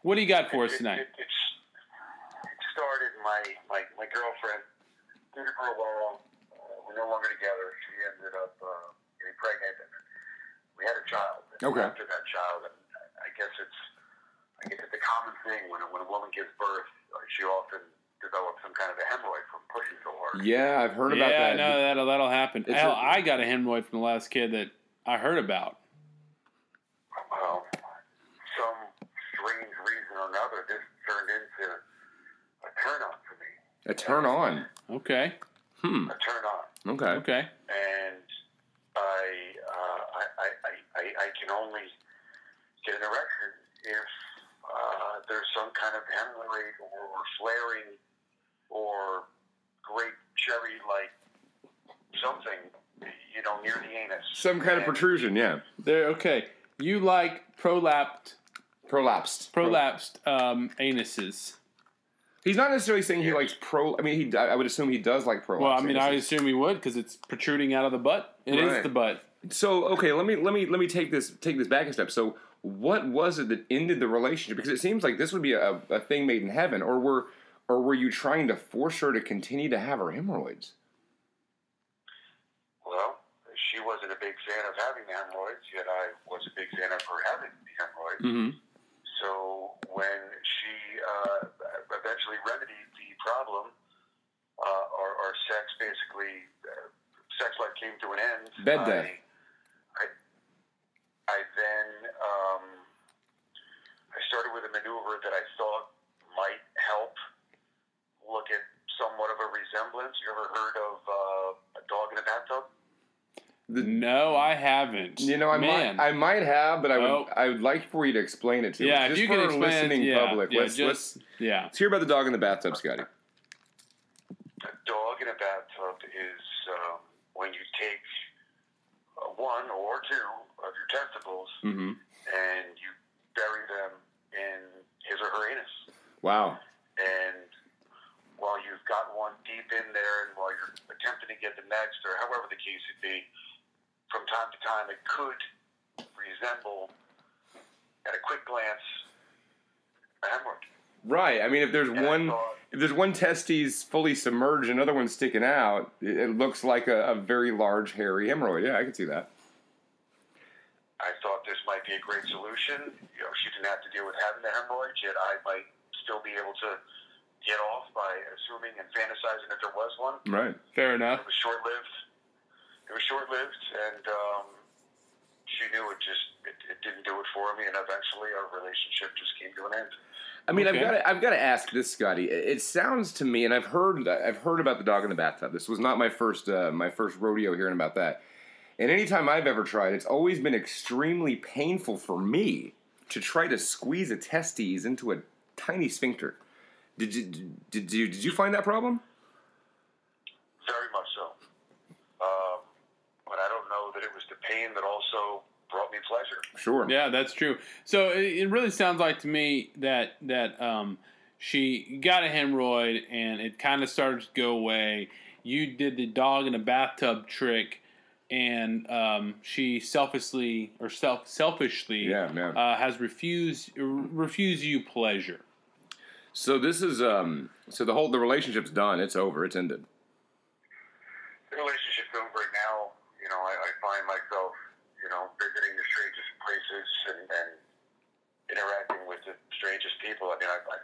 Speaker 6: What do you got for us
Speaker 5: It-
Speaker 6: tonight?
Speaker 5: It, it's, it started my, my, my girlfriend dated for a while. Uh, we're no longer together. She ended up uh, getting pregnant, and we had a child. And
Speaker 4: Okay.
Speaker 5: After that child, and I guess it's I guess it's a common thing when a, when a woman gives birth, uh, she often develops some kind of a hemorrhoid from pushing so hard.
Speaker 4: Yeah, I've heard about that.
Speaker 6: yeah, no, that'll that'll happen.
Speaker 4: It's
Speaker 6: Hell,
Speaker 4: a-
Speaker 6: I got a hemorrhoid from the last kid that I heard about.
Speaker 5: Well, Um, some strange reason or another, this turned into a turn on for me.
Speaker 4: A turn on.
Speaker 6: Okay,
Speaker 4: Hmm.
Speaker 5: A turn on.
Speaker 4: Okay.
Speaker 6: okay.
Speaker 5: and I, uh, I, I, I- I, I can only get an erection if uh, there's some kind of hemorrhoid or, or flaring or grape cherry like something, you know, near the anus.
Speaker 4: Some kind of
Speaker 5: And-
Speaker 4: protrusion. Yeah.
Speaker 6: There. Okay, you like prolapsed,
Speaker 4: Prolapsed.
Speaker 6: prolapsed um, anuses.
Speaker 4: He's not necessarily saying he likes pro. I mean, he. I I would assume he does like prolapse.
Speaker 6: Well, I mean, I
Speaker 4: anuses.
Speaker 6: assume he would because it's protruding out of the butt. It is
Speaker 4: Right.
Speaker 6: the butt.
Speaker 4: So okay, let me let me let me take this take this back a step. So what was it that ended the relationship? Because it seems like this would be a, a thing made in heaven, or were or were you trying to force her to continue to have her hemorrhoids?
Speaker 5: Well, she wasn't a big fan of having the hemorrhoids, yet I was a big fan of her having the hemorrhoids.
Speaker 4: Mm-hmm.
Speaker 5: So when she uh, eventually remedied the problem, uh, our, our sex basically, uh, sex life came to an end.
Speaker 4: Bed day.
Speaker 5: I, I, I then um, I started with a maneuver that I thought might help look at somewhat of a resemblance. You ever heard of uh, a dog in a bathtub?
Speaker 6: No, I haven't.
Speaker 4: You know, I
Speaker 6: Man.
Speaker 4: might I might have, but I would
Speaker 6: Oh.
Speaker 4: I would like for you to explain it to
Speaker 6: yeah,
Speaker 4: us.
Speaker 6: if
Speaker 4: Just
Speaker 6: you
Speaker 4: for
Speaker 6: can
Speaker 4: our
Speaker 6: explain.
Speaker 4: listening
Speaker 6: yeah,
Speaker 4: public.
Speaker 6: yeah,
Speaker 4: let's,
Speaker 6: just,
Speaker 4: let's
Speaker 6: yeah.
Speaker 4: let's hear about the dog in the bathtub, Scotty.
Speaker 5: a dog in a bathtub is um, when you take uh, one or two of your testicles
Speaker 4: Mm-hmm.
Speaker 5: and you bury them in his or her anus.
Speaker 4: Wow.
Speaker 5: And while you've got one deep in there and while you're attempting to get the next, or however the case it be, from time to time it could resemble, at a quick glance, a hemorrhoid.
Speaker 4: Right. I mean, if there's
Speaker 5: Yeah,
Speaker 4: one,
Speaker 5: so-
Speaker 4: if there's one testes fully submerged, another one's sticking out, it, it looks like a, a very large hairy hemorrhoid. Yeah, I can see that.
Speaker 5: I thought this might be a great solution. You know, she didn't have to deal with having the hemorrhoids, yet I might still be able to get off by assuming and fantasizing that there was one.
Speaker 4: Right.
Speaker 6: Fair enough.
Speaker 5: It was short lived. It was short lived, and um, she knew it just it, it didn't do it for me, and eventually our relationship just came to an end.
Speaker 4: I mean, I've
Speaker 6: Okay.
Speaker 4: got to, I've got to ask this, Scotty. It it sounds to me, and I've heard I've heard about the dog in the bathtub. This was not my first uh, my first rodeo hearing about that. And any time I've ever tried, it's always been extremely painful for me to try to squeeze a testes into a tiny sphincter. Did you did you did you find that problem?
Speaker 5: Very much so. Um, but I don't know that it was the pain that also brought me pleasure.
Speaker 4: Sure.
Speaker 6: Yeah, that's true. So it, it really sounds like to me that that um, she got a hemorrhoid and it kind of started to go away. You did the dog in a bathtub trick, and um, she selfishly or self selfishly
Speaker 4: Yeah, man.
Speaker 6: uh, has refused r- refused you pleasure.
Speaker 4: So this is um so the whole the relationship's done. It's over. It's ended.
Speaker 5: The relationship's over and now. You know, I, I find myself, you know, visiting the strangest places and, and interacting with the strangest people. I mean, I, I,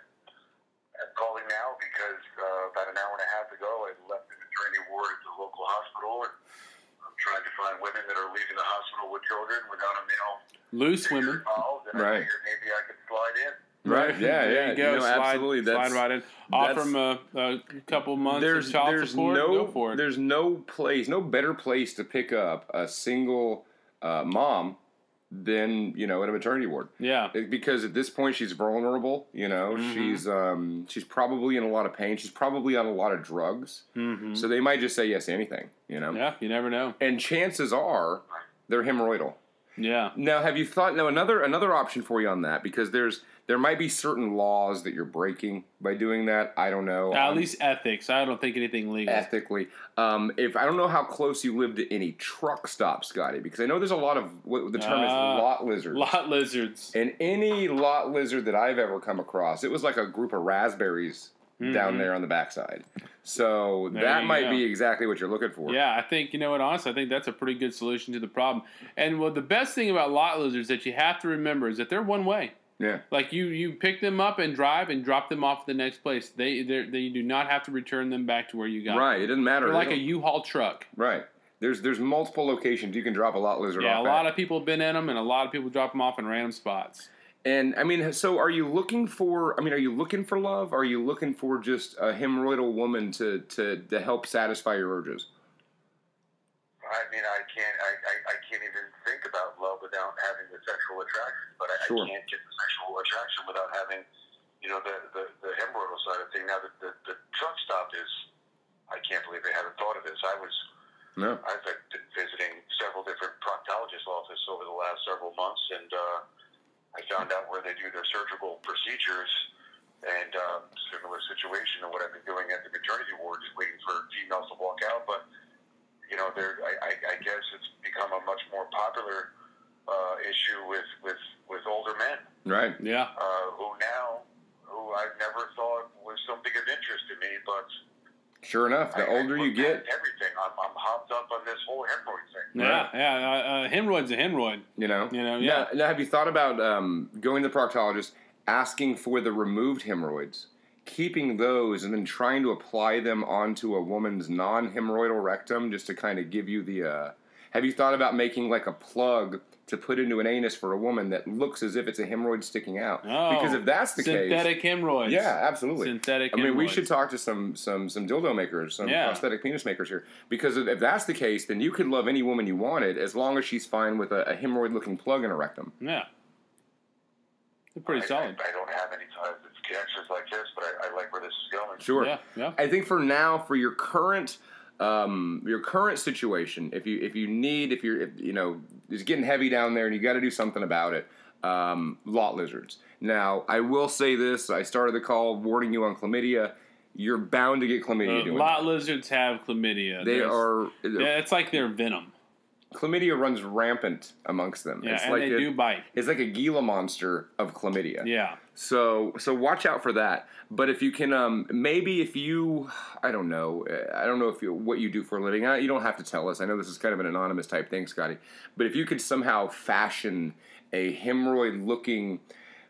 Speaker 5: I'm calling now because uh, about an hour and a half ago, I left an attorney ward at the local hospital, and I'm trying to find women that are leaving the hospital with children without a male
Speaker 6: Loose women.
Speaker 5: involved, and
Speaker 4: Right.
Speaker 5: I figured maybe I could slide in.
Speaker 4: Right. Yeah.
Speaker 6: there
Speaker 4: yeah.
Speaker 6: you go.
Speaker 4: know,
Speaker 6: slide,
Speaker 4: absolutely. That's,
Speaker 6: slide right in.
Speaker 4: that's-
Speaker 6: Offer them a, a couple months
Speaker 4: there's
Speaker 6: of child
Speaker 4: there's
Speaker 6: support.
Speaker 4: no
Speaker 6: go for it.
Speaker 4: there's no place no better place to pick up a single uh, mom than you know at a maternity ward
Speaker 6: Yeah.
Speaker 4: It- because at this point she's vulnerable you know
Speaker 6: Mm-hmm.
Speaker 4: she's um, she's probably in a lot of pain she's probably on a lot of drugs
Speaker 6: hmm
Speaker 4: so they might just say yes to anything you know
Speaker 6: Yeah. You never know.
Speaker 4: and chances are they're hemorrhoidal
Speaker 6: Yeah.
Speaker 4: now, have you thought? Now, another another option for you on that because there's there might be certain laws that you're breaking by doing that. I don't know.
Speaker 6: At
Speaker 4: Um,
Speaker 6: least ethics. I don't think anything legal.
Speaker 4: ethically. Um, if I don't know how close you live to any truck stop, Scotty, because I know there's a lot of what the term is
Speaker 6: Ah,
Speaker 4: lot lizards.
Speaker 6: Lot lizards.
Speaker 4: and any lot lizard that I've ever come across, it was like a group of raspberries down
Speaker 6: Mhm.
Speaker 4: there on the backside. So
Speaker 6: There
Speaker 4: that
Speaker 6: you
Speaker 4: might
Speaker 6: go.
Speaker 4: be exactly what you're looking for.
Speaker 6: Yeah, I think you know what. Honestly, I think that's a pretty good solution to the problem. And well, the best thing about lot lizards that you have to remember is that they're one way.
Speaker 4: Yeah.
Speaker 6: Like you, you pick them up and drive and drop them off at the next place. They, they're- they do not have to return them back to where you got. them.
Speaker 4: Right. It doesn't matter.
Speaker 6: They're
Speaker 4: They
Speaker 6: like a
Speaker 4: don't-
Speaker 6: U-Haul truck.
Speaker 4: right. There's there's multiple locations you can drop a lot lizard
Speaker 6: Yeah,
Speaker 4: off
Speaker 6: a
Speaker 4: at.
Speaker 6: lot of people have been in them, and a lot of people drop them off in random spots.
Speaker 4: And I mean, so are you looking for? I mean, are you looking for love? Are you looking for just a hemorrhoidal woman to to to help satisfy your urges?
Speaker 5: I mean, I can't, I, I, I can't even think about love without having the sexual attraction. But I,
Speaker 4: Sure.
Speaker 5: I can't get the sexual attraction without having, you know, the the, the hemorrhoidal side of thing. Now the, the the truck stop is, I can't believe they haven't thought of this. I was
Speaker 4: No.
Speaker 5: I've been visiting several different proctologists' offices over the last several months, and uh, I found out where they do their surgical procedures. And uh, similar situation to what I've been doing at the maternity ward, just waiting for females to walk out. But you know, there, I, I, I guess it's become a much more popular uh, issue with, with, with older men
Speaker 4: Right.
Speaker 6: Yeah,
Speaker 5: uh, who now, who I never thought was something of interest to me, but
Speaker 4: Sure enough, the
Speaker 5: I- I
Speaker 4: older you
Speaker 5: look
Speaker 4: get,
Speaker 5: at everything. I'm, I'm hopped up on this whole hemorrhoid thing.
Speaker 6: yeah, yeah. Uh, uh, hemorrhoid's a hemorrhoid.
Speaker 4: you know.
Speaker 6: You know,
Speaker 4: Now,
Speaker 6: yeah.
Speaker 4: now have you thought about um, going to the proctologist, asking for the removed hemorrhoids, keeping those, and then trying to apply them onto a woman's non-hemorrhoidal rectum, just to kind of give you the. Uh, have you thought about making like a plug to put into an anus for a woman that looks as if it's a hemorrhoid sticking out?
Speaker 6: Oh,
Speaker 4: because if that's the case,
Speaker 6: synthetic hemorrhoids.
Speaker 4: Yeah, absolutely.
Speaker 6: Synthetic
Speaker 4: I mean, we
Speaker 6: hemorrhoids.
Speaker 4: should talk to some some some dildo makers, some
Speaker 6: Yeah.
Speaker 4: prosthetic penis makers here, because if if that's the case, then you could love any woman you wanted as long as she's fine with a, a hemorrhoid-looking plug in her rectum.
Speaker 6: Yeah, they're pretty
Speaker 5: I,
Speaker 6: solid.
Speaker 5: I, I don't have any ties to connections like this, but I, I like where this is going.
Speaker 4: Sure.
Speaker 6: Yeah, yeah.
Speaker 4: I think for now, for your current um, your current situation, if you if you need if you're if, you know it's getting heavy down there and you got to do something about it. Um, lot lizards. Now, I will say this: I started the call warning you on chlamydia. You're bound to get chlamydia
Speaker 6: Uh,
Speaker 4: doing.
Speaker 6: lot lizards have chlamydia.
Speaker 4: that. They
Speaker 6: There's-
Speaker 4: are
Speaker 6: Yeah, it's like their venom.
Speaker 4: chlamydia runs rampant amongst them.
Speaker 6: Yeah,
Speaker 4: it's
Speaker 6: and
Speaker 4: like
Speaker 6: they
Speaker 4: a,
Speaker 6: do bite.
Speaker 4: It's like a Gila monster of chlamydia.
Speaker 6: Yeah.
Speaker 4: So so watch out for that. But if you can, um, maybe if you, I don't know, uh, I don't know if you, what you do for a living. Uh, You don't have to tell us. I know this is kind of an anonymous type thing, Scotty. But if you could somehow fashion a hemorrhoid-looking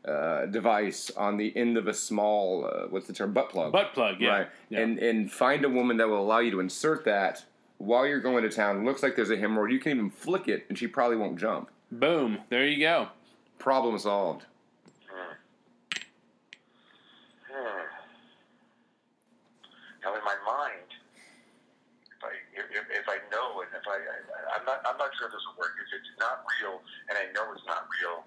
Speaker 4: uh, device on the end of a small, uh, what's the term, butt plug,
Speaker 6: Butt plug, yeah.
Speaker 4: right,
Speaker 6: Yeah.
Speaker 4: and and find a woman that will allow you to insert that while you're going to town. Looks like there's a hemorrhoid. You can even flick it, and she probably won't jump.
Speaker 6: Boom. There you go.
Speaker 4: Problem solved.
Speaker 5: Hmm. Now in my mind, if I if, if- if I know and if I, I I'm not I'm not sure if this will work. If it's not real and I know it's not real,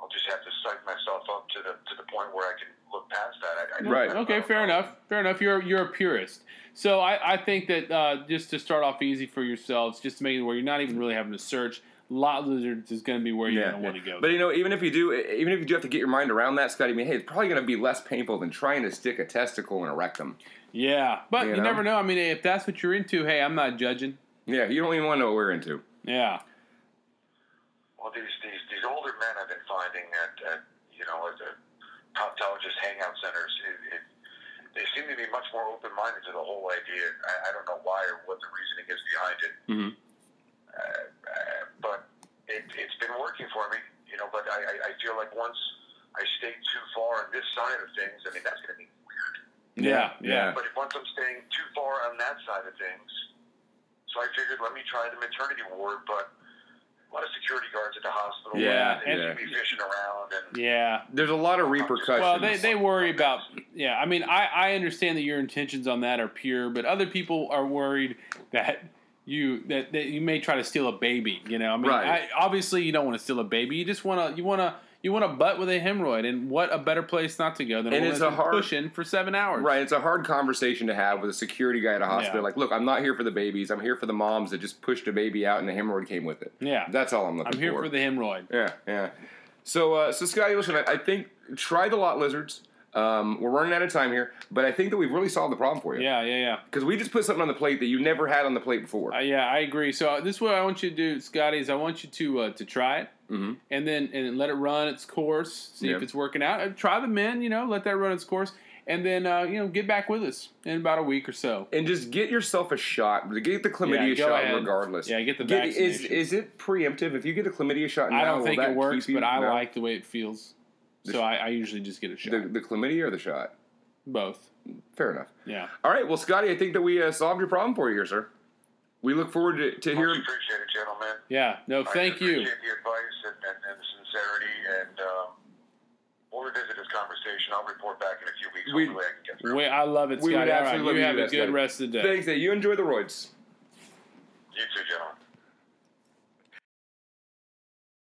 Speaker 5: I'll just have to psych myself up to the to the point where I can look past that. I, I don't-
Speaker 4: Right.
Speaker 5: I don't
Speaker 6: Okay,
Speaker 5: know.
Speaker 6: fair enough. Fair enough. You're you're a purist. So I, I think that uh, just to start off easy for yourselves, just to make it where you're not even really having to search, lot lizards is going to be where you're going to want to go.
Speaker 4: But you know, even if you do, e, even if you do have to get your mind around that, Scotty, I mean, hey, it's probably going to be less painful than trying to stick a testicle in a rectum.
Speaker 6: yeah, but
Speaker 4: You
Speaker 6: you,
Speaker 4: know?
Speaker 6: never know. I mean, if that's what you're into, hey, I'm not judging.
Speaker 4: Yeah, you don't even want to know what we're into.
Speaker 6: Yeah,
Speaker 5: Well, these these these older men I've been finding at, at you know at the proctologist hangout centers, it, it, they seem to be much more open minded to the whole idea. I, I don't know why or what the reasoning is behind it,
Speaker 4: Mhm.
Speaker 5: uh, uh, but it, it's been working for me. You know, but I, I, I feel like once I stay too far on this side of things, I mean that's going to be weird.
Speaker 6: yeah, yeah.
Speaker 4: yeah.
Speaker 5: But if once I'm staying too far on that side of things, so I figured let me try the maternity ward, but a lot of security guards at the hospital.
Speaker 6: Yeah,
Speaker 5: and
Speaker 4: yeah.
Speaker 5: you'd be fishing around, and
Speaker 6: yeah.
Speaker 4: There's a lot of repercussions.
Speaker 6: Well, they, they worry about yeah. I mean, I, I understand that your intentions on that are pure, but other people are worried that you that, that you may try to steal a baby. You know, I mean,
Speaker 4: Right.
Speaker 6: I, obviously you don't want to steal a baby. You just want to you want to you want to butt with a hemorrhoid, and what a better place not to go than
Speaker 4: And
Speaker 6: one
Speaker 4: it's
Speaker 6: that's
Speaker 4: a
Speaker 6: been
Speaker 4: hard-
Speaker 6: pushing for seven hours.
Speaker 4: Right, it's a hard conversation to have with a security guy at a hospital.
Speaker 6: Yeah.
Speaker 4: Like, look, I'm not here for the babies. I'm here for the moms that just pushed a baby out and a hemorrhoid came with it.
Speaker 6: Yeah.
Speaker 4: That's all I'm looking
Speaker 6: I'm here for the hemorrhoid.
Speaker 4: Yeah, yeah. So, uh, so Scotty, listen, I, I think try the lot lizards. Um, we're running out of time here, but I think that we've really solved the problem for you.
Speaker 6: Yeah, yeah, yeah.
Speaker 4: Because we just put something on the plate that you never had on the plate before.
Speaker 6: Uh, yeah, I agree. So uh, this is what I want you to do, Scotty. Is I want you to uh, to try it,
Speaker 4: Mhm.
Speaker 6: and then and let it run its course. See
Speaker 4: Yeah.
Speaker 6: if it's working out. Uh, try the men, you know, let that run its course, and then uh, you know get back with us in about a week or so.
Speaker 4: and just get yourself a shot. Get the chlamydia
Speaker 6: Yeah, go
Speaker 4: shot
Speaker 6: ahead.
Speaker 4: regardless.
Speaker 6: Yeah, get the
Speaker 4: is
Speaker 6: vaccination.
Speaker 4: is it preemptive? If you get a chlamydia shot, now,
Speaker 6: I don't
Speaker 4: will
Speaker 6: think
Speaker 4: that
Speaker 6: it works,
Speaker 4: keep you-
Speaker 6: but I
Speaker 4: no?
Speaker 6: like the way it feels. So I, I usually just get a shot.
Speaker 4: the, the chlamydia or the shot.
Speaker 6: Both.
Speaker 4: Fair enough.
Speaker 6: Yeah.
Speaker 4: All right, well, Scotty, I think that we uh, solved your problem for you here, sir. We look forward to, to
Speaker 5: much
Speaker 4: hearing.
Speaker 5: appreciate it, gentlemen.
Speaker 6: Yeah. No, thank
Speaker 5: I
Speaker 6: you.
Speaker 5: Appreciate the advice and, and, and the sincerity, and um, we'll revisit this conversation. I'll report back in a few weeks.
Speaker 4: We-
Speaker 5: Hopefully, I can get through.
Speaker 6: Wait, I love it,
Speaker 4: We would
Speaker 6: Scotty. All right,
Speaker 4: absolutely
Speaker 6: you
Speaker 4: love
Speaker 6: have
Speaker 4: you
Speaker 6: a
Speaker 4: to
Speaker 6: good
Speaker 4: ask that.
Speaker 6: rest of the day.
Speaker 4: Thanks, that you enjoy the roids.